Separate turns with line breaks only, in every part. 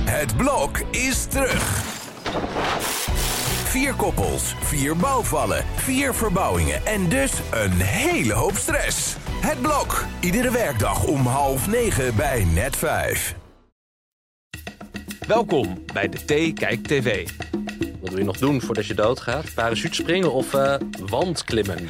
Het blok is terug. Vier koppels, vier bouwvallen, vier verbouwingen en dus een hele hoop stress. Het blok, iedere werkdag om half negen bij net vijf.
Welkom bij de T Kijk TV.
Wat wil je nog doen voordat je doodgaat? Parachute springen of eh, wandklimmen?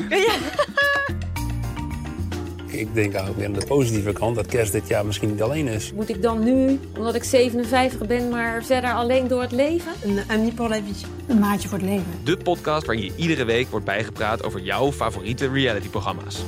Ik denk ook weer aan de positieve kant dat kerst dit jaar misschien niet alleen is.
Moet ik dan nu, omdat ik 57 ben, maar verder alleen door het leven?
Een ami pour la vie. Een maatje voor het leven.
De podcast waarin je iedere week wordt bijgepraat over jouw favoriete realityprogramma's.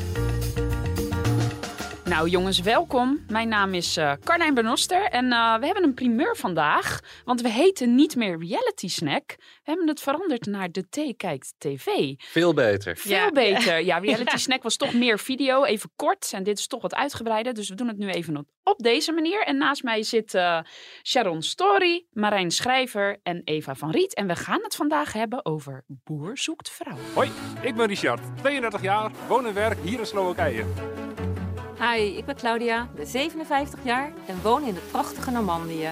Nou jongens, welkom. Mijn naam is eh Carlijn Benoster en eh, we hebben een primeur vandaag. Want we heten niet meer Reality Snack. We hebben het veranderd naar De Thee Kijkt TV.
Veel beter.
Veel beter. Ja, Reality Snack was toch meer video, even kort. En dit is toch wat uitgebreider. Dus we doen het nu even op- op deze manier. En naast mij zit eh, Sharon Story, Marijn Schrijver en Eva van Riet. En we gaan het vandaag hebben over Boer zoekt vrouw.
Hoi, ik ben Richard, 32 jaar, woon en werk hier in Slowakije.
Hi, ik ben Claudia, ben 57 jaar en woon in de prachtige Normandië.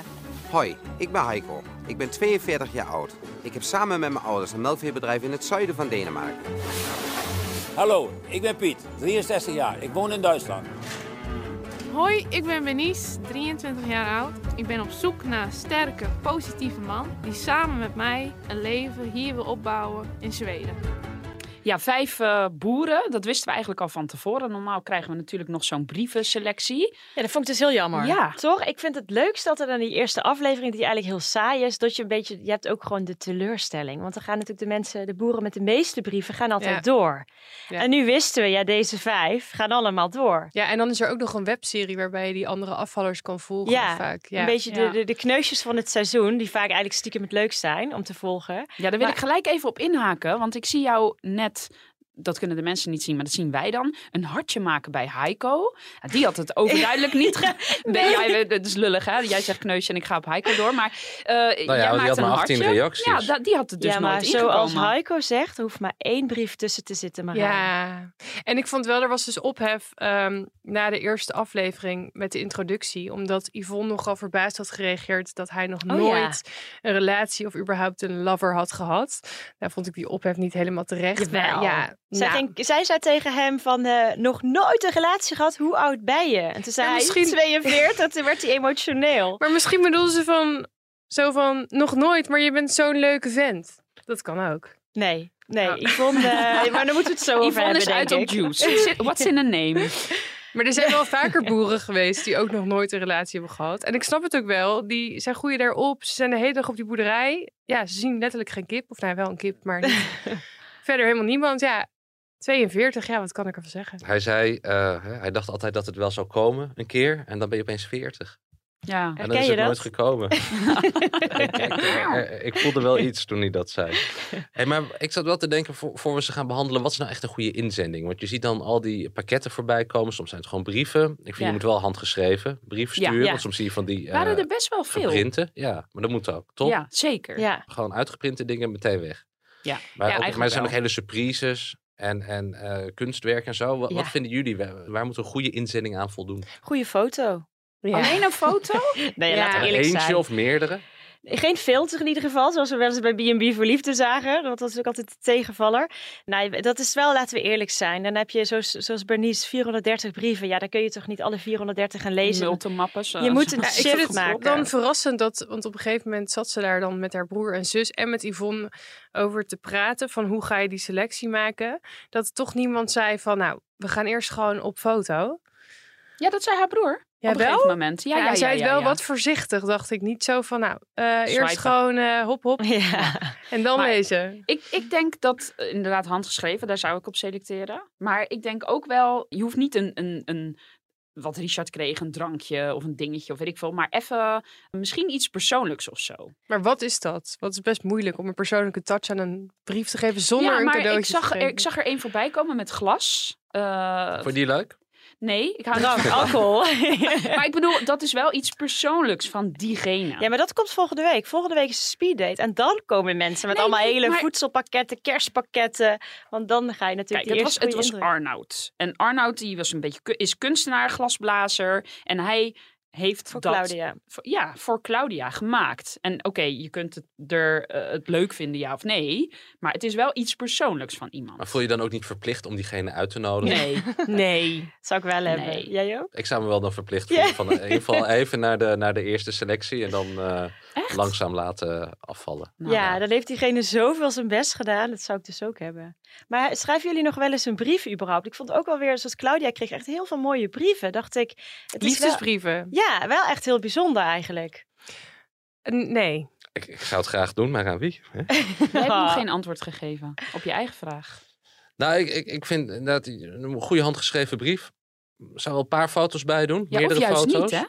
Hoi, ik ben Heiko. Ik ben 42 jaar oud. Ik heb samen met mijn ouders een melkveebedrijf in het zuiden van Denemarken.
Hallo, ik ben Piet, 63 jaar. Ik woon in Duitsland.
Hoi, ik ben Benice, 23 jaar oud. Ik ben op zoek naar een sterke, positieve man die samen met mij een leven hier wil opbouwen in Zweden.
Ja, vijf eh, boeren. Dat wisten we eigenlijk al van tevoren. Normaal krijgen we natuurlijk nog zo'n brievenselectie.
Ja, dat vond ik dus heel jammer.
Ja.
Toch? Ik vind het leukst dat er dan die eerste aflevering, die eigenlijk heel saai is, dat je een beetje, je hebt ook gewoon de teleurstelling. Want dan gaan natuurlijk de mensen, de boeren met de meeste brieven, gaan altijd
Ja.
door.
Ja.
En nu wisten we, ja, deze vijf gaan allemaal door.
Ja, en dan is er ook nog een webserie waarbij je die andere afvallers kan volgen
Ja,
vaak. Ja.
een beetje
Ja.
de, de, de kneusjes van het seizoen, die vaak eigenlijk stiekem het leukst zijn om te volgen.
Ja, daar wil ik gelijk even op inhaken. Want ik zie jou net, dat kunnen de mensen niet zien, maar dat zien wij dan, een hartje maken bij Heiko. Ja, Die had het overduidelijk niet. ge- Nee, jij, dat is lullig hè. Jij zegt kneusje en ik ga op Heiko door. Maar eh jij
die had
maakt een
maar 18
hartje.
reacties.
Ja, da- die had het dus
ja, maar
nooit
zoals
ingekomen.
Heiko zegt, er hoeft maar één brief tussen te zitten, maar
Ja, en ik vond wel, er was dus ophef ehm, na de eerste aflevering met de introductie. Omdat Yvonne nogal verbaasd had gereageerd dat hij nog
Oh,
nooit een relatie of überhaupt een lover had gehad. Daar vond ik die ophef niet helemaal terecht. maar
Jawel.
ja,
zij,
nou,
ging- zij zei tegen hem van eh, nog nooit een relatie gehad, hoe oud ben je? En toen zei
En
hij
misschien-
42, toen werd hij emotioneel.
Maar misschien bedoelde ze van, zo van, nog nooit, maar je bent zo'n leuke vent. Dat kan ook.
Nee, nee, Yvonne, eh, maar dan moeten we het zo over
Yvonne
hebben,
is
denk
uit op
ik.
juice. Zit-
What's in a name?
Maar er zijn wel vaker boeren geweest die ook nog nooit een relatie hebben gehad. En ik snap het ook wel. Die, zij groeien daarop. Ze zijn de hele dag op die boerderij. Ja, ze zien letterlijk geen kip. Of nou, wel een kip, maar niet- verder helemaal niemand. Ja, 42. Ja, wat kan ik ervan zeggen?
Hij zei, eh, hè, hij dacht altijd dat het wel zou komen, een keer. En dan ben je opeens 40.
Ja.
en dan is het nooit gekomen. ik, ik, eh, ik voelde wel iets toen hij dat zei. Hey, maar ik zat wel te denken, voor, voor we ze gaan behandelen, wat is nou echt een goede inzending? Want je ziet dan al die pakketten voorbij komen. Soms zijn het gewoon brieven. Ik vind,
Ja.
je moet wel handgeschreven brieven
Ja.
sturen.
Ja.
Want soms zie je van die... eh,
Waren er best wel veel.
Geprinten, ja. Maar dat moet ook, toch?
Ja, zeker.
Ja.
Gewoon uitgeprinte dingen meteen weg.
Ja.
Maar,
Ja,
ook-
eigenlijk
maar er zijn ook
wel.
hele surprises en, en eh, kunstwerken en zo. Wat,
Ja.
wat vinden jullie? Waar, waar moet een goede inzending aan voldoen?
Goede foto.
Alleen een foto?
nee, laten we eerlijk
Eentje
zijn.
of meerdere?
Geen filter in ieder geval, zoals we wel eens bij B&B voor Liefde zagen. Want dat is ook altijd de tegenvaller. Nee, dat is wel, laten we eerlijk zijn. Dan heb je, zoals, zoals Bernice, 430 brieven. Ja, daar kun je toch niet alle 430 gaan lezen.
Multimappes. eh,
Je moet een
Ja, ik
shift
vind het
maken.
dan verrassend dat, want op een gegeven moment zat ze daar dan met haar broer en zus en met Yvonne over te praten van hoe ga je die selectie maken. Dat toch niemand zei van nou, we gaan eerst gewoon op foto.
Ja, dat zei haar broer.
Ja,
op een
wel?
gegeven moment. Ja,
Ja,
ja,
hij
ja,
zei het
ja,
wel
ja.
wat voorzichtig, dacht ik. Niet zo van, nou, eh, eerst
Swipen.
gewoon eh, hop hop en dan
Maar-
lezen.
Ik, ik denk dat eh, inderdaad handgeschreven, daar zou ik op selecteren. Maar ik denk ook wel, je hoeft niet een, een, een wat Richard kreeg, een drankje of een dingetje of weet ik veel. Maar even misschien iets persoonlijks of zo.
Maar wat is dat? Wat is best moeilijk om een persoonlijke touch aan een brief te geven zonder
ja,
een
maar
cadeautje
ik zag,
te
er,
geven.
ik zag er één voorbij komen met glas. Eh,
Vond je die leuk?
nee, ik hou niet
Drank,
van-
alcohol.
Maar ik bedoel, dat is wel iets persoonlijks van diegene.
ja, maar dat komt volgende week. Volgende week is een speeddate. En dan komen mensen met
Nee,
allemaal
nee,
hele
maar-
voedselpakketten, kerstpakketten. Want dan ga je natuurlijk
Kijk,
de
het was,
eerste
het
goede
was
indruk.
Arnoud. En Arnoud die was een beetje, ku- is kunstenaar, glasblazer. En hij heeft
Voor
dat
Claudia.
voor- ja, voor Claudia gemaakt. En oké, je kunt het, er, eh, het leuk vinden, ja of nee. Maar het is wel iets persoonlijks van iemand.
Maar voel je dan ook niet verplicht om diegene uit te nodigen?
Nee, nee.
Zou ik wel hebben. Jij ook?
Ik zou me wel dan verplicht voelen
Ja.
van eh, in ieder geval even naar de, naar de eerste selectie en dan eh, langzaam laten afvallen.
Nou
ja, dan heeft diegene zoveel zijn best gedaan. Dat zou ik dus ook hebben. Maar schrijven jullie nog wel eens een brief überhaupt? Ik vond ook wel weer, zoals Claudia kreeg echt heel veel mooie brieven. Dacht ik. Het is wel-
Liefdesbrieven.
Ja, wel echt heel bijzonder eigenlijk.
Nee.
Ik, ik zou het graag doen, maar aan wie? Hè?
Jij hebt
Oh.
nog geen antwoord gegeven op je eigen vraag.
Nou, ik, ik, ik vind inderdaad een goede handgeschreven brief. Zou wel een paar foto's bij doen.
Ja,
meerdere
of juist
foto's.
niet, hè?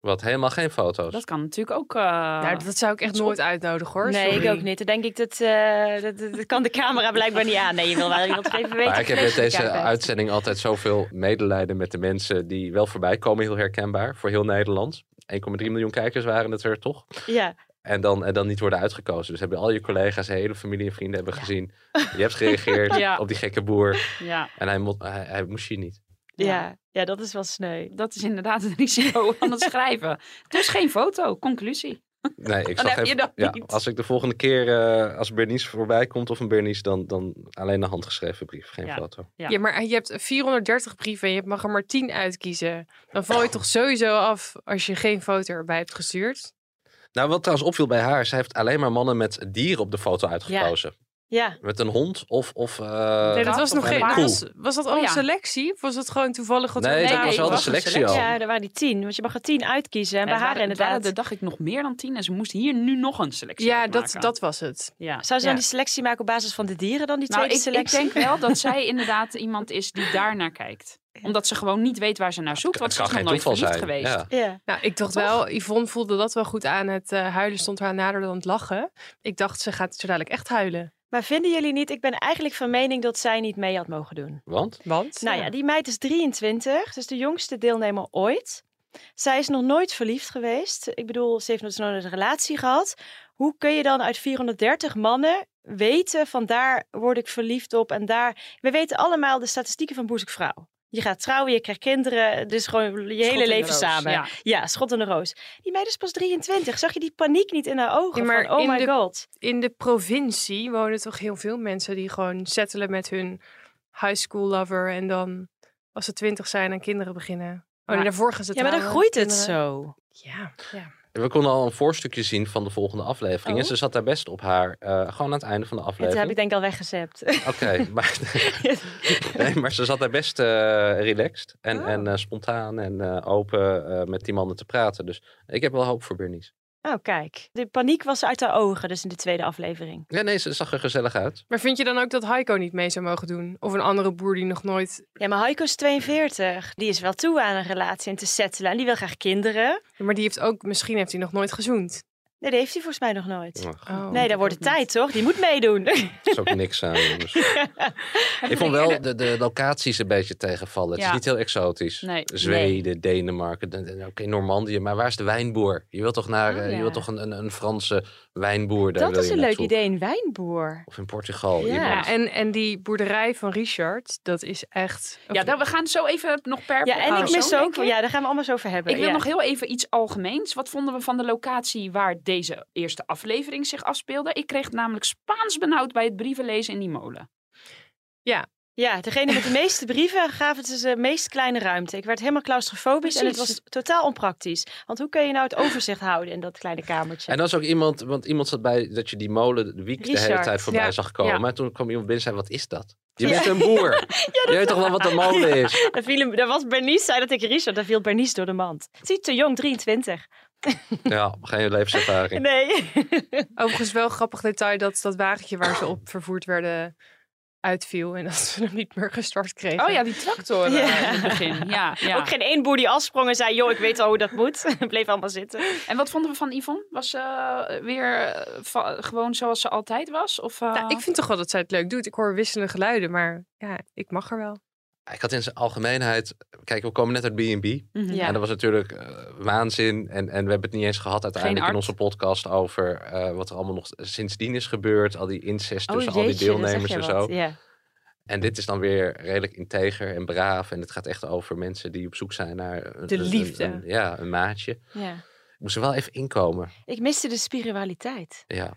Wat, helemaal geen foto's?
Dat kan natuurlijk ook. eh,
Nou, dat zou ik echt nooit uitnodigen hoor.
nee,
Sorry.
ik ook niet. Dan denk ik dat, eh, dat, dat- dat kan de camera blijkbaar niet aan. Nee, je wil wel iemand even weten.
Maar ik heb
dat
met
je
deze
bekend bent.
uitzending altijd zoveel medelijden met de mensen die wel voorbij komen. Heel herkenbaar voor heel Nederland. 1,3 miljoen kijkers waren het er toch?
Ja.
En dan, en dan niet worden uitgekozen. Dus hebben al je collega's, je hele familie en vrienden hebben gezien. Je hebt gereageerd
Ja.
op die gekke boer.
Ja.
En hij, mo- hij, hij moest je niet.
Ja. ja, dat is wel sneu.
Dat is inderdaad het risico aan het schrijven. Dus geen foto, conclusie.
Nee, ik
Oh, Dan
zag
heb je
even,
dat
ja,
niet.
Als ik de volgende keer, eh, als Bernice voorbij komt of een Bernice, dan, dan alleen een handgeschreven brief, geen
Ja.
foto.
Ja. maar je hebt 430 brieven en je mag er maar 10 uitkiezen. Dan val je
Nou.
toch sowieso af als je geen foto erbij hebt gestuurd.
Nou, wat trouwens opviel bij haar, zij heeft alleen maar mannen met dieren op de foto uitgekozen.
Ja.
Met een hond of... of eh,
nee, dat was
of
nog
een
geen.
koe.
Was, was dat al
Oh,
een
ja.
selectie? Of was dat gewoon toevallig wat er
Nee,
op
dat
tafel
was wel de
lag?
selectie al.
Ja, er waren die tien. Want je mag er tien uitkiezen. En
Ja,
bij
het
haar
waren- het waren
inderdaad.
er, dacht ik, nog meer dan tien. En ze moest hier nu nog een selectie
Ja,
uit
dat-
maken.
dat was het.
Ja.
Zou ze
Ja.
dan die selectie maken op basis van de dieren dan, die
Nou,
tweede
ik, ik
selectie?
denk wel dat zij inderdaad iemand is die daar naar kijkt. Omdat ze gewoon niet weet waar ze naar zoekt. Want ze
kan
is nog
geen
nooit
toeval
verliefd
zijn,
geweest.
ja.
Nou, ik dacht
Toch?
wel, Yvonne voelde dat wel goed aan. Het eh, huilen stond haar nader dan het lachen. Ik dacht, ze gaat zo dadelijk echt huilen.
Maar vinden jullie niet, ik ben eigenlijk van mening dat zij niet mee had mogen doen.
Want?
Want?
Nou ja, die meid is 23, dus de jongste deelnemer ooit. Zij is nog nooit verliefd geweest. Ik bedoel, ze heeft nog nooit een relatie gehad. Hoe kun je dan uit 430 mannen weten van daar word ik verliefd op en daar... We weten allemaal de statistieken van Boezekvrouw. Je gaat trouwen, je krijgt kinderen, dus gewoon je
in de
hele leven
roos,
samen.
ja.
Ja. schot en de roos. Die meid is pas 23. Zag je die paniek niet in haar ogen?
Ja, maar
van, oh
in
my
de-
god.
In de provincie wonen toch heel veel mensen die gewoon settelen met hun high school lover. En dan, als ze twintig zijn, aan kinderen beginnen. Oh, nee,
Maar-
daarvoor gaan ze
Ja, maar dan
trouwen,
groeit het
kinderen.
zo.
Ja, ja.
We konden al een voorstukje zien van de volgende aflevering. En
Oh.
ze zat daar best op haar, eh, gewoon aan het einde van de
Dat heb
aflevering.
ik denk ik al weggezept.
Oké, maar, nee, maar ze zat daar best eh, relaxed en, en eh, spontaan en eh, open eh, met die mannen te praten. Dus ik heb wel hoop voor Bernice.
Oh, kijk. De paniek was uit haar ogen, dus in de tweede aflevering.
Ja, nee, ze zag er gezellig uit.
Maar vind je dan ook dat Heiko niet mee zou mogen doen? Of een andere boer die nog nooit...
Ja, maar Heiko is 42. Die is wel toe aan een relatie en te settelen. En die wil graag kinderen.
Maar die heeft ook... Misschien heeft hij nog nooit gezoend. Oh.
Nee, die heeft hij volgens mij nog nooit.
Ach,
nee, daar wordt het tijd, toch? Die moet meedoen.
Er is ook niks aan, jongens. ik vond wel de, de locaties een beetje tegenvallen. Het
Ja.
is niet heel exotisch.
Nee.
Zweden, Denemarken, de- de- oké, Normandië. Maar waar is de wijnboer? Je wilt toch, naar, eh,
Oh, ja.
je wilt toch een, een, een Franse wijnboer? Daar
dat
wil
is
je
een leuk
naartoe.
idee, een wijnboer.
Of in Portugal.
Ja.
iemand.
Ja, en, en die boerderij van Richard, dat is echt...
Ja, dan, we gaan zo even nog per
Ja, en ik
persoon,
mis ook...
denk ik.
Ja, daar gaan we allemaal zo over hebben.
Oh, Ik wil
ja.
nog heel even iets algemeens. Wat vonden we van de locatie waar deze eerste aflevering zich afspeelde? Ik kreeg namelijk Spaans benauwd bij het brievenlezen in die molen.
Ja.
Ja, degene met de meeste brieven gaven ze de meest kleine ruimte. Ik werd helemaal claustrofobisch en het was
Precies.
totaal onpraktisch. Want hoe kun je nou het overzicht houden in dat kleine kamertje?
En dat is ook iemand, want iemand zat bij dat je die molen de wiek de hele
Richard.
tijd voorbij
Ja.
zag komen.
Ja.
Maar toen kwam iemand binnen en zei, wat is dat? Je
Ja.
bent een boer. je weet toch wel wat een molen is?
Daar, viel hem, daar was Bernice, zei dat ik Richard, daar viel Bernice door de mand. Ziet te jong, 23.
Ja, geen levenservaring.
Nee.
Overigens wel een grappig detail dat dat wagentje waar ze op vervoerd werden uitviel. En dat ze hem niet meer gestart kregen.
Oh ja, die tractor eh,
Ja.
in het begin. Ja, ja.
Ook geen één boer die afsprong en zei, joh, ik weet al hoe dat moet. Bleef allemaal zitten.
En wat vonden we van Yvonne? Was ze eh, weer eh, va- gewoon zoals ze altijd was? Of, eh,
Nou, ik vind toch wel dat zij het leuk doet. Ik hoor wisselende geluiden, maar ja, ik mag er wel.
Ik had in zijn algemeenheid, kijk, we komen net uit B&B.
Mhm. Ja.
En dat was natuurlijk eh, waanzin. En, en we hebben het niet eens gehad uiteindelijk in
arts.
onze podcast over eh, wat er allemaal nog sindsdien is gebeurd. Al die incest tussen al die
Oh, jeetje, dat zeg
deelnemers
je
en
wat.
zo.
Ja.
En dit is dan weer redelijk integer en braaf. En het gaat echt over mensen die op zoek zijn naar... een-
De
een-
liefde.
een- ja, een maatje.
Ja.
Ik moest er wel even inkomen.
Ik miste de spiritualiteit.
Ja.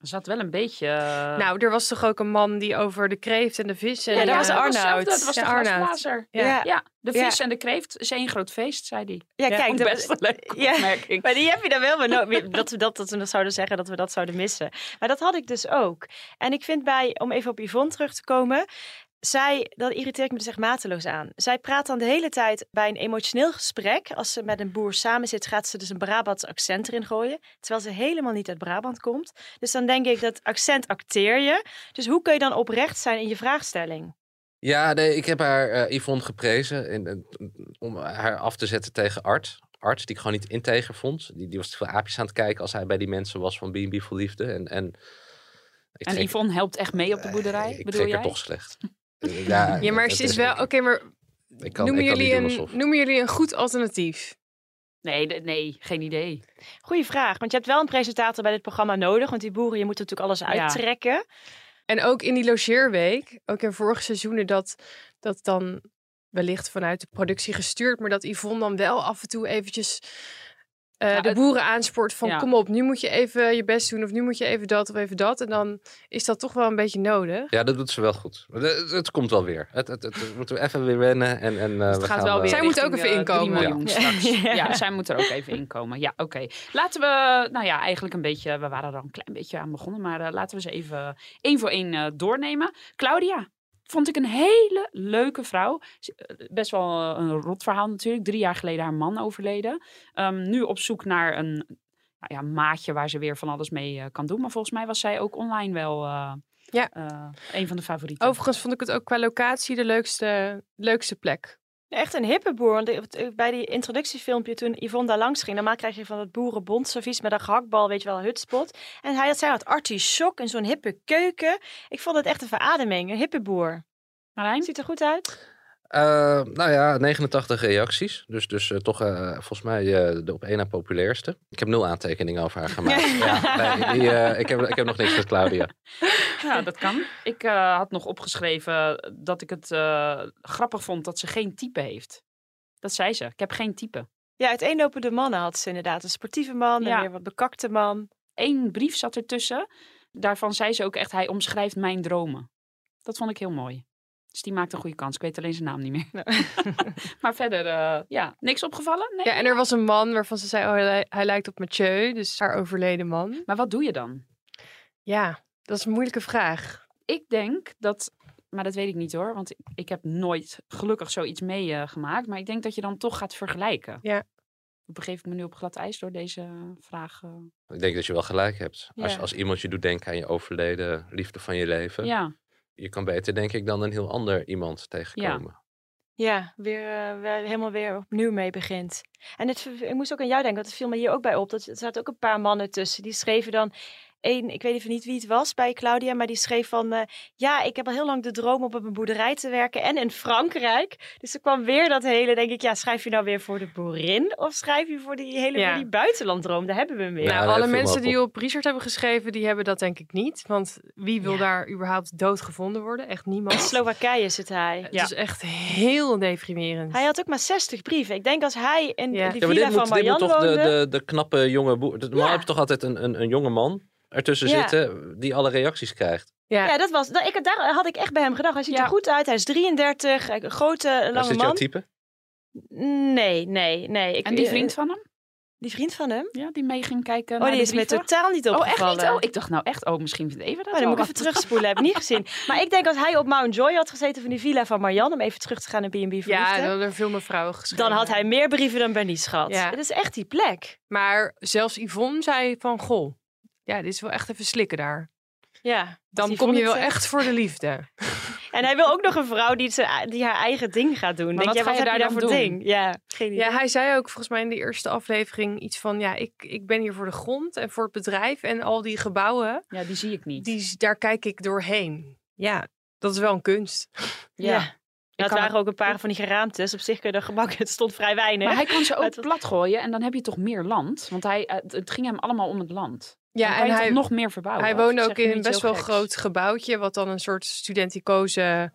Er zat wel een beetje... eh,
Nou, er was toch ook een man die over de kreeft en de vissen...
Ah. Ja,
en-
dat was
Arnoud.
Arnoud. Dat was
Ja,
de glasblazer. Ja.
Ja.
Ja. de vis
Ja.
en de kreeft is één groot feest, zei hij.
Ja, kijk,
vond ik
dat-
best een leuke
Ja,
opmerking.
maar die heb je dan wel beno- weer- dat we dat, dat we dat zouden zeggen, dat we dat zouden missen. Maar dat had ik dus ook. En ik vind bij, om even op Yvonne terug te komen, zij, dat irriteert me dus echt mateloos aan. Zij praat dan de hele tijd bij een emotioneel gesprek, als ze met een boer samen zit, gaat ze dus een Brabants accent erin gooien, terwijl ze helemaal niet uit Brabant komt. Dus dan denk ik, dat accent acteer je. Dus hoe kun je dan oprecht zijn in je vraagstelling?
Ja, nee, ik heb haar eh, Yvonne geprezen in, in- om haar af te zetten tegen Art. Art, die ik gewoon niet integer vond. Die, die was te veel aapjes aan het kijken als hij bij die mensen was van B&B voor Liefde. En, en, ik
En
trek-
Yvonne helpt echt mee op de boerderij,
ik
bedoel
trek
jij?
er toch slecht. Eh, ja,
Ja, maar
dat
ze is wel... Oké, maar
Ik kan,
noemen,
ik kan
jullie
niet doen
een,
alsof.
noemen jullie een goed alternatief?
Nee, de- nee, geen idee.
Goeie vraag, want je hebt wel een presentator bij dit programma nodig, want die boeren, je moet natuurlijk alles uittrekken.
En ook in die logeerweek, ook in vorige seizoenen, dat, dat dan wellicht vanuit de productie gestuurd, maar dat Yvonne dan wel af en toe eventjes eh, de boeren aanspoort van
ja.
kom op, nu moet je even je best doen of nu moet je even dat of even dat. En dan is dat toch wel een beetje nodig.
Ja, dat doet ze wel goed. Maar Het, het- het komt wel weer. Het, het, het, het moeten we even weer wennen. En, en, eh, we
Dus Het gaat
gaan,
wel
eh,
weer.
Zij moet
richting,
ook even
eh, drie
inkomen.
miljoen
Ja.
straks.
Ja.
Ja. zij moet er ook even inkomen. Ja, oké. Laten we, nou ja, eigenlijk een beetje, we waren er al een klein beetje aan begonnen, maar eh, laten we ze even één voor één eh, doornemen. Claudia. Vond ik een hele leuke vrouw. Ze- eh, Best wel eh, een rot verhaal natuurlijk. Drie jaar geleden haar man overleden. Ehm, nu op zoek naar een nou ja, maatje waar ze weer van alles mee eh, kan doen. Maar volgens mij was zij ook online wel eh,
Ja.
eh, een van de favorieten.
Overigens vond ik het ook qua locatie de leukste, leukste plek.
Echt een hippe boer. Want ik- bij die introductiefilmpje toen Yvonne daar langs ging, normaal krijg je van dat boerenbondservies met een gehaktbal, weet je wel, een hutspot. En hij had, zij had artichok en zo'n hippe keuken. Ik vond het echt een verademing, een hippe boer.
Marijn?
Ziet er goed uit.
Eh, nou ja, 89 reacties. Dus, dus eh, toch eh, volgens mij eh, de op één na populairste. Ik heb nul aantekeningen over haar gemaakt. ja, nee, die, eh, ik, heb, ik heb nog niks met Claudia.
Ja, dat kan. Ik eh, had nog opgeschreven dat ik het eh, grappig vond dat ze geen type heeft. Dat zei ze. Ik heb geen type.
Ja, uiteenlopende mannen had ze inderdaad. Een sportieve man, en
Ja.
weer wat bekakte man.
Eén brief zat ertussen. Daarvan zei ze ook echt, hij omschrijft mijn dromen. Dat vond ik heel mooi. Dus die maakt een goede kans. Ik weet alleen zijn naam niet meer. maar verder, eh, ja, niks opgevallen? Nee.
Ja, en er was een man waarvan ze zei, oh, hij, li- hij lijkt op Mathieu, dus haar overleden man.
Maar wat doe je dan?
Ja, dat is een moeilijke vraag.
Ik denk dat, maar dat weet ik niet hoor, want ik, ik heb nooit gelukkig zoiets meegemaakt. maar ik denk dat je dan toch gaat vergelijken.
Ja.
Begeef ik me nu op glad ijs door deze vraag? eh?
Ik denk dat je wel gelijk hebt. Als,
Ja.
als iemand je doet denken aan je overleden liefde van je leven.
Ja.
Je kan beter, denk ik, dan een heel ander iemand tegenkomen.
Ja, weer, eh, weer- helemaal weer opnieuw mee begint. En het, ver- ik moest ook aan jou denken, want het viel me hier ook bij op. Dat, er zaten ook een paar mannen tussen. Die schreven dan één, ik weet even niet wie het was bij Claudia, maar die schreef van... eh, ja, ik heb al heel lang de droom om op een boerderij te werken en in Frankrijk. Dus er kwam weer dat hele, denk ik, ja, schrijf je nou weer voor de boerin? Of schrijf je voor die hele
Ja.
voor die buitenlanddroom? Daar hebben we hem weer.
Nou,
daar
alle
viel me
mensen
ook
die op Richard hebben geschreven, die hebben dat denk ik niet. Want wie wil daar überhaupt dood gevonden worden? Echt
In
niemand.
Slowakije zit hij.
Het is echt heel deprimerend.
Hij had ook maar 60 brieven. Ik denk als hij in
Ja.
die
Ja, maar dit
villa van
moet, dit moet
Marianne
toch de,
woonde...
de, de knappe jonge boer... de- Normaal heb je toch altijd een, een, een jonge man ertussen
Ja.
zitten die alle reacties krijgt.
Ja, dat was. dat- ik, daar had ik echt bij hem gedacht. Hij ziet er goed uit. Hij is 33. hij- Een grote, lange
Is dit
man.
jouw type?
Nee, nee, nee. Ik, eh,
en die vriend van hem?
Die vriend van hem?
Ja, die mee ging kijken
Oh,
naar
die
de
is me
brieven?
totaal niet
Oh, echt niet?
opgevallen.
Oh, ik dacht nou echt, oh, misschien vindt Eva dat
Oh, dan
wel
moet ik
wat.
even terugspoelen. Heb ik niet gezien. Maar ik denk als hij op Mount Joy had gezeten van die villa van Marianne... om even terug te gaan naar B&B Verliefde...
Ja, dan hadden er veel meer vrouwen geschreven.
dan had hij meer brieven dan Bernice gehad.
Ja.
Het is echt die plek.
Maar zelfs Yvonne zei van, goh, ja, dit is wel echt even slikken daar.
Ja.
Dan
die
kom je
vond
wel
het, eh,
echt voor de liefde.
En hij wil ook nog een vrouw die, ze, die haar eigen ding gaat doen.
Maar
denk,
wat
jij,
ga
wat
je
heb
daar
je
dan
daar voor
doen?
ding? Ja, geen idee.
Ja, hij zei ook volgens mij in de eerste aflevering iets van, ja, ik, ik ben hier voor de grond en voor het bedrijf en al die gebouwen,
Ja, die zie ik niet.
die, daar kijk ik doorheen. Ja, dat is wel een kunst.
Ja.
Ja.
kan
het waren
het-
ook een paar van die geraamtes. Op zich kunnen gebakken. Het stond vrij weinig.
Maar hij kan ze
Maar
ook
het was-
plat gooien en dan heb je toch meer land? Want hij, eh, het- het ging hem allemaal om het land.
Ja,
Dan kan
en
je toch
hij-
nog meer verbouwen.
Hij
Of
woonde
zeg
ook
je nu
in een
iets
best
heel
wel
geks?
groot gebouwtje, wat dan een soort studenticoze...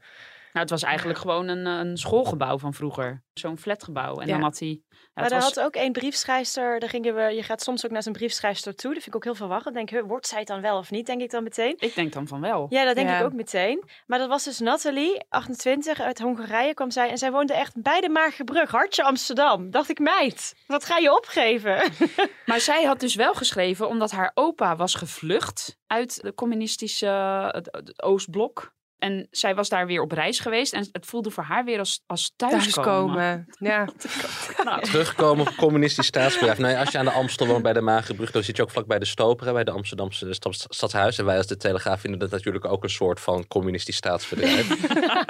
Nou, het was eigenlijk gewoon een, eh, een schoolgebouw van vroeger. Zo'n flatgebouw. En
Ja.
dan had hij... ja,
Maar
het
daar
was-
had ook één briefschrijfster. Daar gingen we, je gaat soms ook naar zo'n briefschrijfster toe. Dat vind ik ook heel verwarrend. Denk, huh, wordt zij het dan wel of niet? Denk ik dan meteen.
Ik denk dan van wel.
Ja, dat denk
Ja.
ik ook meteen. Maar dat was dus Nathalie, 28, uit Hongarije kwam zij. En zij woonde echt bij de Maagbrug, hartje Amsterdam. Dacht ik, meid, wat ga je opgeven?
Maar zij had dus wel geschreven omdat haar opa was gevlucht uit de communistische eh, het- het Oostblok. En zij was daar weer op reis geweest. En het voelde voor haar weer als, als thuiskomen.
Thuiskomen. Ja.
Terugkomen op communistisch staatsbedrijf. Nou ja, als je aan de Amstel woont bij de Magenbrug, dan zit je ook vlak bij de Stoper, hè, bij de Amsterdamse stad- Stadshuis. En wij als de Telegraaf vinden dat natuurlijk ook een soort van communistisch staatsbedrijf.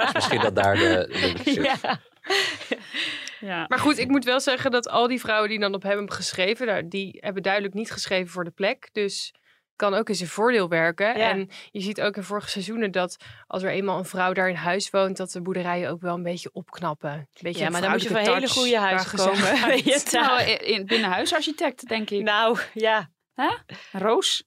dus misschien dat daar de link zit.
Maar goed, ik moet wel zeggen dat al die vrouwen die dan op hem hebben geschreven, nou, die hebben duidelijk niet geschreven voor de plek. Dus kan ook in zijn voordeel werken.
Ja.
En je ziet ook in vorige seizoenen dat als er eenmaal een vrouw daar in huis woont, dat de boerderijen ook wel een beetje opknappen. Een beetje
Ja,
een
maar dan moet je voor
vrouwelijke
hele
touch
goede huizen
waar gezellig
komen.
uit.
Weet je,
Nou, in, in- binnenhuisarchitect, denk ik.
Nou, ja.
Hè? Roos?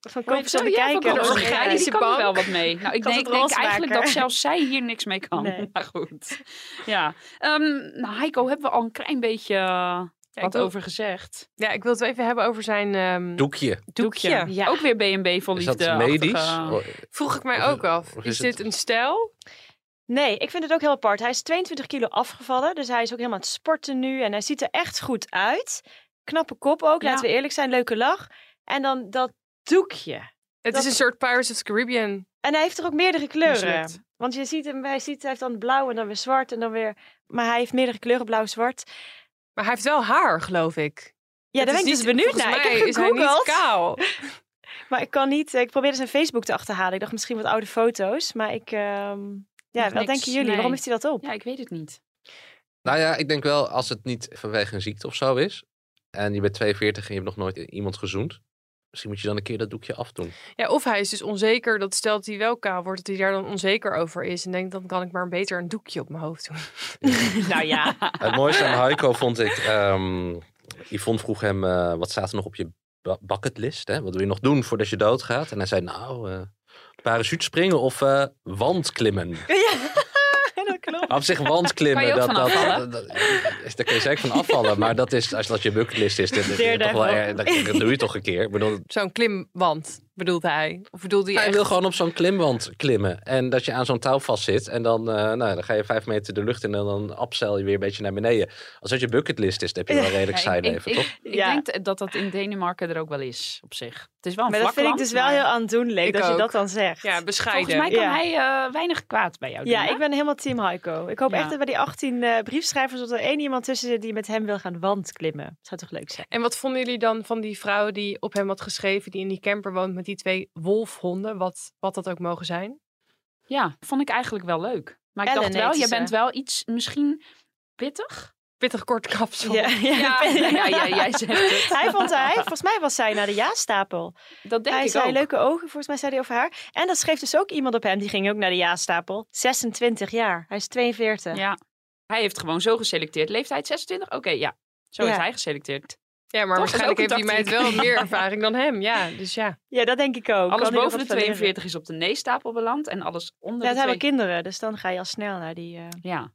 Van
Kom je
kopen
zo
tot
ja, van
bekijken.
Roos
Roos
Grijs,
Grijs.
die kan er wel wat mee. Nou, ik
Kan
denk,
het
denk
roze
eigenlijk
maken.
dat zelfs zij hier niks mee kan.
Nee.
Maar goed. Ja. Ehm, nou, Heiko, hebben we al een klein beetje eh, wat
wil-
over gezegd.
Ja, ik wil het wel even hebben over zijn ehm,
Doekje.
doekje.
Ja.
Oh,
Ook weer B&B vol
Is
liefde.
dat medisch?
achtige-
Vroeg ik mij ook af.
Of
Is,
is het-
dit een stijl?
Nee, ik vind het ook heel apart. Hij is 22 kilo afgevallen, dus hij is ook helemaal aan het sporten nu. En hij ziet er echt goed uit. Knappe kop ook,
Ja.
laten we eerlijk zijn. Leuke lach. En dan dat doekje.
Het
Dat-
is een soort Pirates of the Caribbean.
En hij heeft er ook meerdere kleuren.
Mislukt.
Want je ziet hem, hij, ziet, hij heeft dan blauw en dan weer zwart en dan weer... Maar hij heeft meerdere kleuren, blauw, zwart.
Maar hij heeft wel haar, geloof ik.
Ja,
Het
daar ben
is
ik dus
niet-
benieuwd
volgens
naar. Ik
mij
heb
is hij niet
gegoogeld.
kaal.
Maar ik kan niet... eh, Ik probeerde zijn Facebook te achterhalen. Ik dacht misschien wat oude foto's. Maar ik... ehm, ja,
Nog
wat
niks,
denken jullie?
nee.
Waarom heeft hij dat op?
Ja, ik weet het niet.
Nou ja, ik denk wel als het niet vanwege een ziekte of zo is. En je bent 42 en je hebt nog nooit iemand gezoend. Misschien moet je dan een keer dat doekje afdoen.
Ja, of hij is dus onzeker dat stelt hij wel kaal wordt, dat hij daar dan onzeker over is en denkt dan kan ik maar beter een doekje op mijn hoofd doen.
nou ja.
Het mooiste aan Heiko vond ik... ehm Yvonne vroeg hem, eh, wat staat er nog op je ba- bucketlist? Hè? Wat wil je nog doen voordat je doodgaat? En hij zei, nou, eh parachute springen of eh wandklimmen.
dat klopt.
Op zich wandklimmen,
Kan je ook
dat,
van
dat,
afvallen?
dat, is- daar kun je zeker van afvallen. Maar dat is, als dat je bucketlist is, dat, dat- dat- toch wel,
Daredevil.
erg- dat, dat doe je toch een keer. Ik bedoel,
Zo'n klimwand bedoelde hij. Of bedoelde hij,
Hij
echt...
wil gewoon op zo'n klimwand klimmen. En dat je aan zo'n touw vastzit. En dan, eh, nou, dan ga je vijf meter de lucht in. En dan abzeil je weer een beetje naar beneden. Als dat je bucketlist is, dan heb je wel redelijk
Ja,
saai
ik-
leven,
ik,
toch?
Ik, ik
Ja.
denk dat dat in Denemarken er ook wel is, op zich. Het is wel een
Maar dat
vlak
vind ik
land,
dus wel
maar
heel aandoenlijk
Ik
dat je
ook.
dat dan zegt.
Ja, bescheiden.
Volgens mij kan
Ja.
hij eh, weinig kwaad bij jou doen.
Ja,
hè?
ik ben helemaal team Heiko. Ik hoop
Ja.
echt dat bij die 18 eh, briefschrijvers... dat er één iemand tussen zit die met hem wil gaan wandklimmen. Zou toch leuk zijn?
En wat vonden jullie dan van die vrouw die op hem had geschreven, die in die camper woont met die twee wolfhonden, wat, wat dat ook mogen zijn?
Ja, vond ik eigenlijk wel leuk. Maar ik
Ellen
dacht wel,
heette
je
ze.
bent wel iets misschien pittig.
Pittig kort kapsel.
Ja, ja.
ja, ja, ja, jij zegt het.
Hij vond hij, volgens mij was zij naar de ja-stapel.
Dat denk
hij
ik
zei
ook.
leuke ogen, volgens mij zei hij over haar. En dat schreef dus ook iemand op hem, die ging ook naar de ja-stapel. 26 jaar, hij is 42.
Ja. Hij heeft gewoon zo geselecteerd. Leeftijd 26? Oké, ja. Zo
Ja.
heeft hij geselecteerd.
Ja, maar
Toch,
waarschijnlijk
is ook
heeft
een
die meid wel
tactiek.
meer ervaring dan hem. Ja, dus ja.
Ja, dat denk ik ook.
Alles
Kan hij
boven de
nog wat van leren.
42 is op de nee-stapel beland en alles onder
Ja,
de
het hebben
twee-
kinderen, dus dan ga je al snel naar die... eh,
Ja.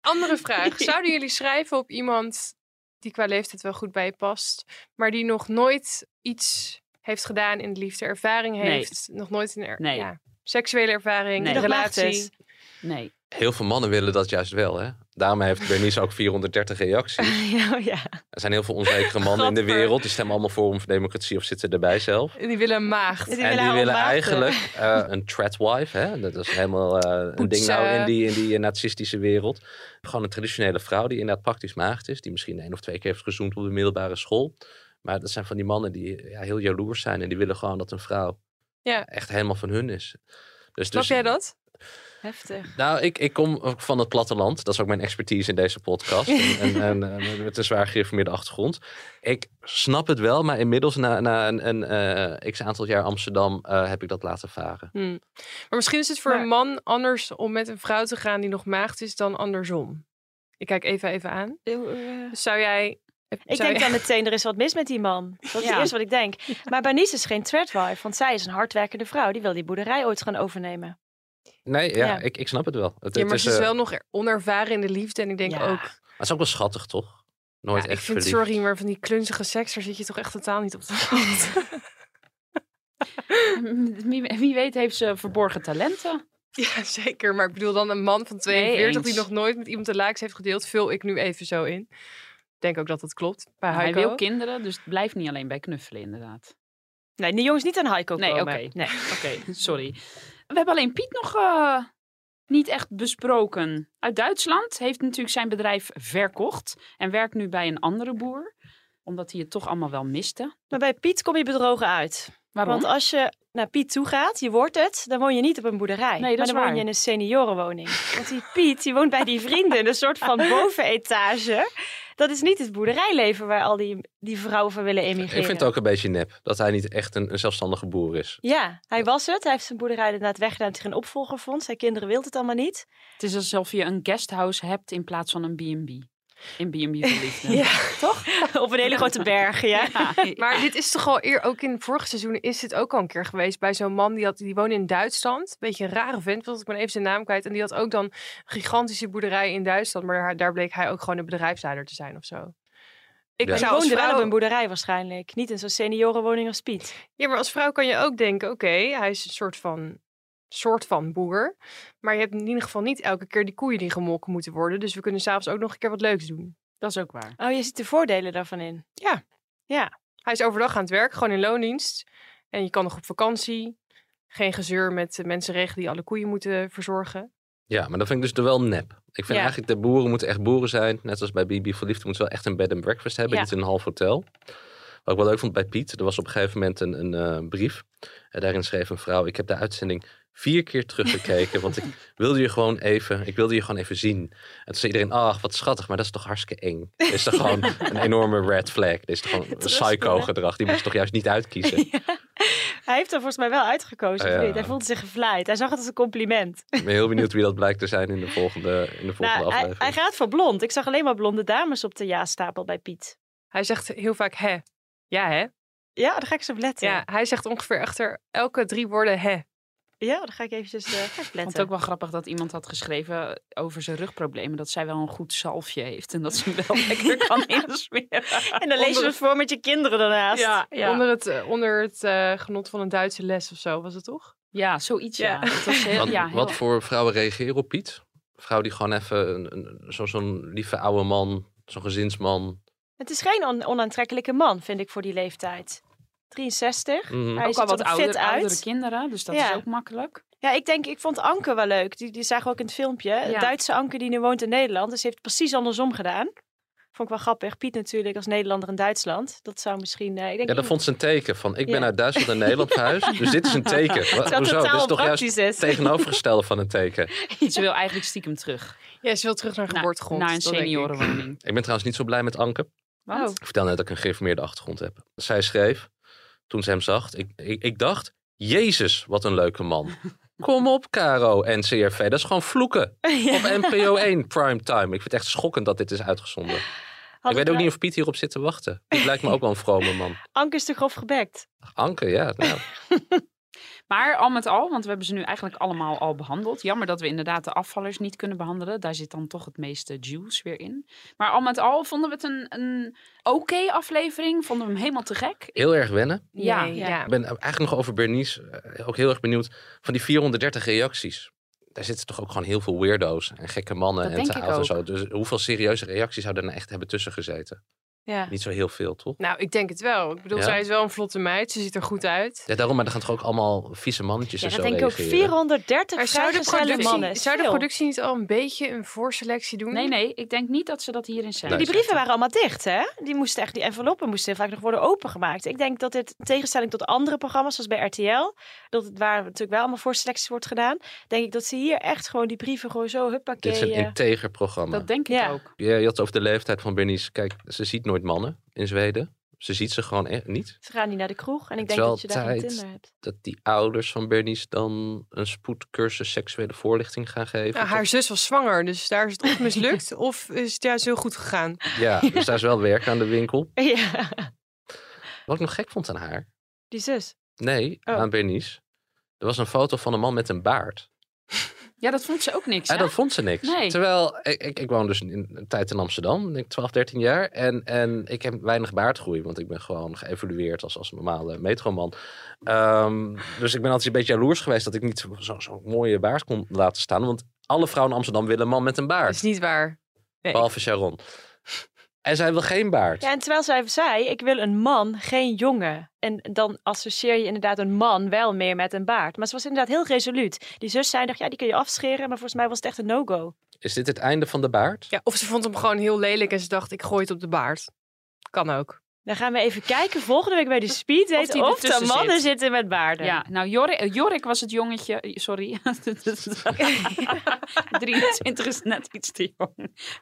Andere vraag. Zouden jullie schrijven op iemand die qua leeftijd wel goed bij je past, maar die nog nooit iets heeft gedaan in de liefde, ervaring
Nee.
heeft, nog nooit een er-
Nee.
ja, seksuele ervaring,
Nee.
een relatie?
Nee.
Heel veel mannen willen dat juist wel, hè? Daarom heeft Bernice ook 430 reacties.
eh, Ja, oh ja.
Er zijn heel veel onzekere mannen in de
Gadver.
wereld. Die stemmen allemaal voor om voor democratie of zitten erbij zelf.
En die willen een maagd.
en die willen eigenlijk eh, een tradwife. Hè? Dat is helemaal eh, een ding nou in die, in die eh, nazistische wereld. Gewoon een traditionele vrouw die inderdaad praktisch maagd is. Die misschien één of twee keer heeft gezoend op de middelbare school. Maar dat zijn van die mannen die ja, heel jaloers zijn. En die willen gewoon dat een vrouw
Ja.
echt helemaal van hun is. Dus,
Snap
dus,
jij dat?
Heftig.
Nou, ik, ik kom ook van het platteland. Dat is ook mijn expertise in deze podcast. en, en, en, eh, met een zwaar gereformeerde achtergrond. Ik snap het wel, maar inmiddels na, na een, een eh, x aantal jaar Amsterdam eh, heb ik dat laten varen.
Hmm. Maar misschien is het voor een man anders om met een vrouw te gaan die nog maagd is dan andersom. Ik kijk even even aan.
eh,
Dus zou jij...
Ik
zou
denk
je-
dan meteen, er is wat mis met die man. Dat is
Ja.
het eerste wat ik denk. Maar Bernice is geen threadwife, want zij is een hardwerkende vrouw. Die wil die boerderij ooit gaan overnemen.
Nee, ja,
Ja.
Ik, ik snap het wel. Het,
Ja, maar
het
ze is
eh,
wel nog er- onervaren in de liefde. En ik denk ook,
maar het is ook wel schattig, toch? Nooit
ja, ik
echt
vind,
verliefd.
sorry, maar van die klunzige seks, daar zit je toch echt totaal niet op te wachten.
Wie, wie weet heeft ze verborgen talenten.
Ja, zeker. Maar ik bedoel dan een man van 42 die
eens.
nog nooit met iemand de laaks heeft gedeeld, vul ik nu even zo in. Ik denk ook dat dat klopt. Bij
Hij
Heiko.
wil kinderen, dus het blijft niet alleen bij knuffelen inderdaad.
Nee, die jongens niet aan Heiko
nee,
komen.
oké.
Nee,
oké. Sorry. We hebben alleen Piet nog eh, niet echt besproken. Uit Duitsland heeft natuurlijk zijn bedrijf verkocht en werkt nu bij een andere boer, omdat hij het toch allemaal wel miste.
Maar bij Piet kom je bedrogen uit.
Waarom?
Want als je naar Piet toe gaat, je wordt het, dan woon je niet op een
Nee,
boerderij.
dat
maar
is
dan woon
waar.
je in een seniorenwoning. Want die Piet, die woont bij die vrienden in een soort van bovenetage. Dat is niet het boerderijleven waar al die, die vrouwen van willen emigreren.
Ik vind het ook een beetje nep dat hij niet echt een, een zelfstandige boer is.
Ja, hij was het. Hij heeft zijn boerderij inderdaad weggedaan omdat hij geen opvolger vond. Zijn kinderen wilden het allemaal niet.
Het is alsof je een guesthouse hebt in plaats van een B&B. In B&B verliefd.
toch? Op een hele grote berg, ja.
Maar dit is toch al eer, ook in vorige seizoenen is dit ook al een keer geweest bij zo'n man die, had, die woonde in Duitsland. Beetje een rare vent, want ik ben even zijn naam kwijt. En die had ook dan een gigantische boerderij in Duitsland, maar daar, daar bleek hij ook gewoon een bedrijfsleider te zijn of zo. Ik
Hij
zou als
woonde wel
vrouw-
op een boerderij waarschijnlijk. Niet in zo'n seniorenwoning als Piet.
Ja, maar als vrouw kan je ook denken, oké, hij is een soort van, soort van boer. Maar je hebt in ieder geval niet elke keer die koeien die gemolken moeten worden. Dus we kunnen s'avonds ook nog een keer wat leuks doen.
Dat is ook waar.
Oh, je ziet de voordelen daarvan in.
Ja.
Ja.
Hij is overdag aan het werk, gewoon in loondienst. En je kan nog op vakantie. Geen gezeur met eh, mensen regelen die alle koeien moeten verzorgen.
Ja, maar dat vind ik dus er wel nep. Ik vind
Ja.
eigenlijk de boeren moeten echt boeren zijn. Net als bij Bibi Verliefd moeten ze wel echt een bed and breakfast hebben.
Ja.
Niet een half hotel. Wat ik wel leuk vond bij Piet. Er was op een gegeven moment een, een eh, brief. En daarin schreef een vrouw. Ik heb de uitzending vier keer teruggekeken. want ik wilde je gewoon even, ik wilde je gewoon even zien. En toen zei iedereen, ach wat schattig. Maar dat is toch hartstikke eng. Dit is toch gewoon een enorme red flag. Dit is toch gewoon psycho gedrag. Die moest je toch juist niet uitkiezen.
Hij heeft er volgens mij wel uitgekozen.
Ah,
of
ja.
niet? Hij voelde zich gevleid. Hij zag het als een compliment.
Ik ben heel benieuwd wie dat blijkt te zijn in de volgende, in de volgende
Nou, hij,
aflevering.
hij gaat voor blond. Ik zag alleen maar blonde dames op de ja-stapel bij Piet.
Hij zegt heel vaak hè. Ja, hè?
Ja, daar ga ik eens op letten.
Ja, hij zegt ongeveer achter elke drie woorden hè.
Ja, daar ga ik eventjes eh, ga ik op
Ik vond
letten.
het ook wel grappig dat iemand had geschreven over zijn rugproblemen. Dat zij wel een goed zalfje heeft en dat ze hem wel lekker kan insmeren.
En dan lees je het voor met je kinderen daarnaast.
Ja, ja.
Onder het, eh, onder het eh, genot van een Duitse les of zo, was het toch?
Ja, zoiets ja.
Ja.
Het was heel-
Wat,
ja, heel-
wat voor vrouwen reageren op Piet? Vrouw die gewoon even een- een- zo- zo'n lieve oude man, zo'n gezinsman.
Het is geen on- onaantrekkelijke man, vind ik, voor die leeftijd. 63.
Mhm.
Hij
ook
ziet
al
er
wat
fit
ouder,
uit.
oudere kinderen, dus dat
Ja.
is ook makkelijk.
Ja, ik denk, ik vond Anke wel leuk. Die, die zagen we ook in het filmpje. Een
Ja.
Duitse Anke die nu woont in Nederland. Dus ze heeft het precies andersom gedaan. Vond ik wel grappig. Piet natuurlijk als Nederlander in Duitsland. Dat zou misschien... eh, ik denk
Ja, dat vond ze een teken van ik ben
Ja.
uit Duitsland naar Nederland verhuisd. Dus dit is een teken. Wat,
Terwijl het
hoezo? Dit is
totaal
toch juist
praktisch is.
tegenovergestelde van een teken.
Dus Ze wil eigenlijk stiekem terug.
Ja, ze wil terug naar geboortegrond.
Naar een
dat denk ik.
seniorenwoning.
Ik ben trouwens niet zo blij met Anke.
Oh.
Wat?
Ik vertel net dat ik een geïnformeerde achtergrond heb. Zij schreef, toen ze hem zag, ik, ik, ik dacht, Jezus, wat een leuke man. Kom op, Caro en CRV. Dat is gewoon vloeken. Op NPO 1 primetime. Ik vind het echt schokkend dat dit is uitgezonden. ik weet ook
nou-
niet of Piet hierop zit te wachten. Dit lijkt me ook wel een vrome man.
Anke is te grof gebekt.
Anke, ja. Nou,
Maar al met al, want we hebben ze nu eigenlijk allemaal al behandeld. Jammer dat we inderdaad de afvallers niet kunnen behandelen. Daar zit dan toch het meeste juice weer in. Maar al met al vonden we het een, een oké aflevering. Vonden we hem helemaal te gek.
heel erg wennen.
Ja,
Nee,
ja.
ja.
Ik ben eigenlijk nog over Bernice eh, ook heel erg benieuwd. Van die 430 reacties. Daar zitten toch ook gewoon heel veel weirdo's en gekke mannen
Dat
en
denk
te
ik
oud en
ook.
zo. Dus hoeveel serieuze reacties zouden er nou echt hebben tussen gezeten?
Ja.
Niet zo heel veel, toch?
Nou, ik denk het wel. Ik bedoel,
Ja?
zij is wel een vlotte meid. Ze ziet er goed uit.
Ja, daarom, maar dan gaan toch ook allemaal vieze mannetjes
Ja,
en
dat
zo
denk ik ook.
reageren?
430
Maar zou de,
vrijgezelle mannen.
productie,
is
zou de
veel.
productie niet al een beetje een voorselectie doen?
Nee, nee, ik denk niet dat ze dat hierin zijn.
Ja, Mm. die brieven waren allemaal dicht, hè? Die, moesten echt, die enveloppen moesten vaak nog worden opengemaakt. Ik denk dat dit, in tegenstelling tot andere programma's, zoals bij RTL, dat het waar natuurlijk wel allemaal voorselecties wordt gedaan, denk ik dat ze hier echt gewoon die brieven gewoon zo
Dit
huppakee...
is een
eh,
integer programma.
Dat denk ik ook.
Ja, je had het over de leeftijd van Bernice. Kijk, ze ziet nooit mannen in Zweden. Ze ziet ze gewoon echt niet.
Ze gaan niet naar de kroeg en
Het
ik denk
is wel
dat je daar geen
tijd.
Tinder hebt.
Dat die ouders van Bernice dan een spoedcursus seksuele voorlichting gaan geven.
Nou, haar zus was zwanger, dus daar is het of mislukt of is het juist heel goed gegaan.
Ja, dus daar is wel werk aan de winkel.
Ja,
Wat ik nog gek vond aan haar.
die zus.
Nee,
Oh.
aan Bernice. Er was een foto van een man met een baard.
Ja, dat vond ze ook niks.
En
hè?
dat vond ze niks.
Nee.
Terwijl, ik, ik, ik woon dus in, een tijd in Amsterdam, denk ik 12, 13 jaar. En, en ik heb weinig baardgroei, want ik ben gewoon geëvolueerd als, als normale metroman. Ehm, dus ik ben altijd een beetje jaloers geweest dat ik niet zo'n zo zo'n mooie baard kon laten staan. Want alle vrouwen in Amsterdam willen een man met een baard.
Dat is niet waar. Nee.
Behalve Sharon. En zij wil geen baard.
Ja, en terwijl zij zei, ik wil een man, geen jongen. En dan associeer je inderdaad een man wel meer met een baard. Maar ze was inderdaad heel resoluut. Die zus zei nog, ja, die kun je afscheren, maar volgens mij was het echt een no-go.
Is dit het einde van de baard?
Ja, of ze vond hem gewoon heel lelijk en ze dacht, ik gooi het op de baard. Kan ook.
Dan gaan we even kijken volgende week bij de speed
Of
date
die
of, de
ertussen
mannen
zit.
zitten met baarden.
Ja, nou, Jorik, eh, Jorik was het jongetje. Sorry. 23 is net iets te jong.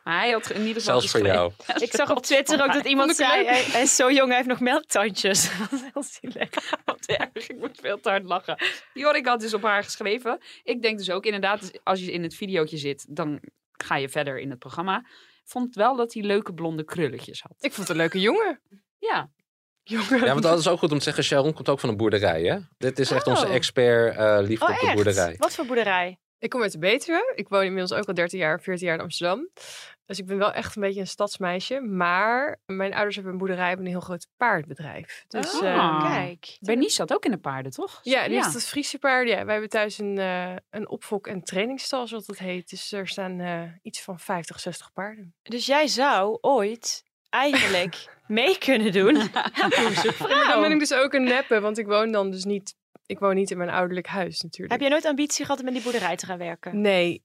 Maar hij had in ieder geval.
Zelfs voor
geschreven.
jou.
Ik zag op Twitter ook dat iemand
Vond ik
zei,
leuk.
hij, hij is zo jong, hij heeft nog melktandjes. Dat is heel zielig.
Wat erg, ik moet veel te hard lachen. Jorik had dus op haar geschreven. Ik denk dus ook inderdaad, als je in het videootje zit, dan ga je verder in het programma. Vond wel dat hij leuke blonde krulletjes had.
Ik vond het een leuke jongen.
Ja.
Jongen.
Ja, want dat is ook goed om te zeggen, Sharon komt ook van een boerderij, hè? Dit is echt onze
Oh.
expert eh liefde
Oh,
op de
echt?
boerderij.
Wat voor boerderij?
Ik kom uit de Betuwe. Ik woon inmiddels ook al 13 jaar, 14 jaar in Amsterdam. Dus ik ben wel echt een beetje een stadsmeisje. Maar mijn ouders hebben een boerderij, hebben een heel groot paardbedrijf. Dus,
Dus,
eh,
Oh,
kijk. Bernice zat ook in de paarden, toch?
Ja, en nu is dat Friese paard. Ja, wij hebben thuis een, eh een opfok- en trainingstal, zoals dat heet. Dus er staan eh, iets van 50, 60 paarden.
Dus jij zou ooit eigenlijk mee kunnen doen.
Maar dan ben ik
Vrouw.
dus ook een neppe, want ik woon dan dus niet... Ik woon niet in mijn ouderlijk huis natuurlijk.
Heb jij nooit ambitie gehad om in die boerderij te gaan werken?
Nee,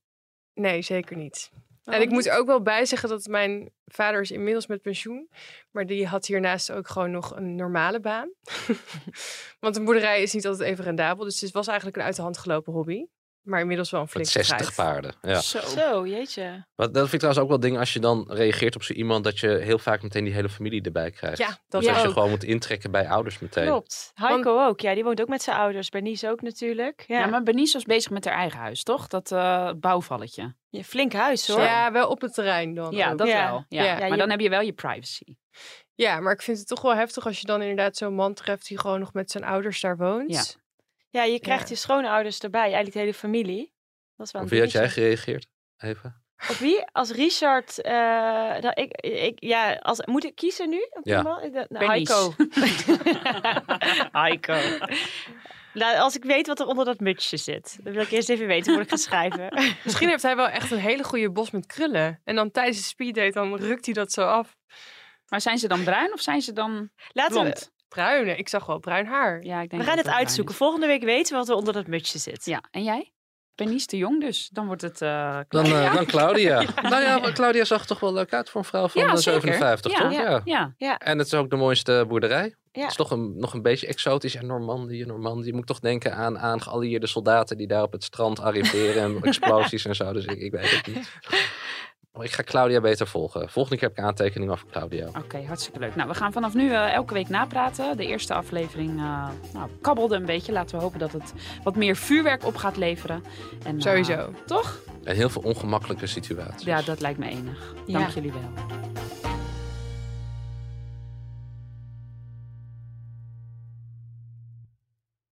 nee, zeker niet. En
Waarom
ik moet
niet?
er ook wel bij zeggen dat mijn vader is inmiddels met pensioen. Maar die had hiernaast ook gewoon nog een normale baan. Want een boerderij is niet altijd even rendabel. Dus het was eigenlijk een uit de hand gelopen hobby. Maar inmiddels wel een
Met
flinke
60
bedrijf.
paarden. Ja.
Zo, jeetje.
Wat, dat vind ik trouwens ook wel ding als je dan reageert op zo iemand dat je heel vaak meteen die hele familie erbij krijgt.
Ja, dat
dus als je
ook.
gewoon moet intrekken bij ouders meteen.
Klopt. Heiko ook. Ja, die woont ook met zijn ouders. Bernice ook natuurlijk. Ja,
Ja, maar Bernice was bezig met haar eigen huis, toch? Dat eh, bouwvalletje.
Ja, flink huis hoor.
Ja, wel op het terrein dan.
Ja,
ook.
dat wel. Ja.
Ja.
maar dan heb je wel je privacy.
Ja, maar ik vind het toch wel heftig als je dan inderdaad zo'n man treft die gewoon nog met zijn ouders daar woont.
Ja, je krijgt
Ja.
je schoonouders erbij. Eigenlijk de hele familie. Dat is wel
Op
een
wie had jij
dingetje.
gereageerd, Eva?
Op wie? Als Richard... eh, dat ik, ik, ja, als, moet ik kiezen nu? Op
Ja.
iemand? Ik dacht, nou,
Bernice.
Heiko. Heiko. Nou, als ik weet wat er onder dat mutsje zit. Dan wil ik eerst even weten voordat ik ga schrijven.
Misschien heeft hij wel echt een hele goede bos met krullen. En dan tijdens de speeddate dan rukt hij dat zo af.
Maar zijn ze dan bruin of zijn ze dan
Laten
blond?
we...
Bruin, ik zag wel bruin haar.
Ja, ik denk
We gaan
dat
het uitzoeken. Volgende week weten we wat er onder dat mutsje zit.
Ja, en jij? Bernice de Jong dus. Dan wordt het... eh,
Dan, eh,
Ja.
dan Claudia. Nou ja, maar Claudia zag er toch wel leuk uit voor een vrouw van
Ja,
eh,
zeker.
57,
Ja,
toch?
ja, ja.
Ja.
En het is ook de mooiste boerderij.
Ja.
Het is toch een, nog een beetje exotisch. En Normandië, Normandië. Je moet toch denken aan, aan geallieerde soldaten die daar op het strand arriveren. en explosies en zo. Dus ik, ik weet het niet. Maar ik ga Claudia beter volgen. Volgende keer heb ik aantekeningen over Claudia.
Oké, hartstikke leuk. Nou, we gaan vanaf nu eh, elke week napraten. De eerste aflevering eh, nou, kabbelde een beetje. Laten we hopen dat het wat meer vuurwerk op gaat leveren. En, eh,
Sowieso.
toch?
En heel veel ongemakkelijke situaties.
Ja, dat lijkt me enig. Dank
Ja.
jullie wel.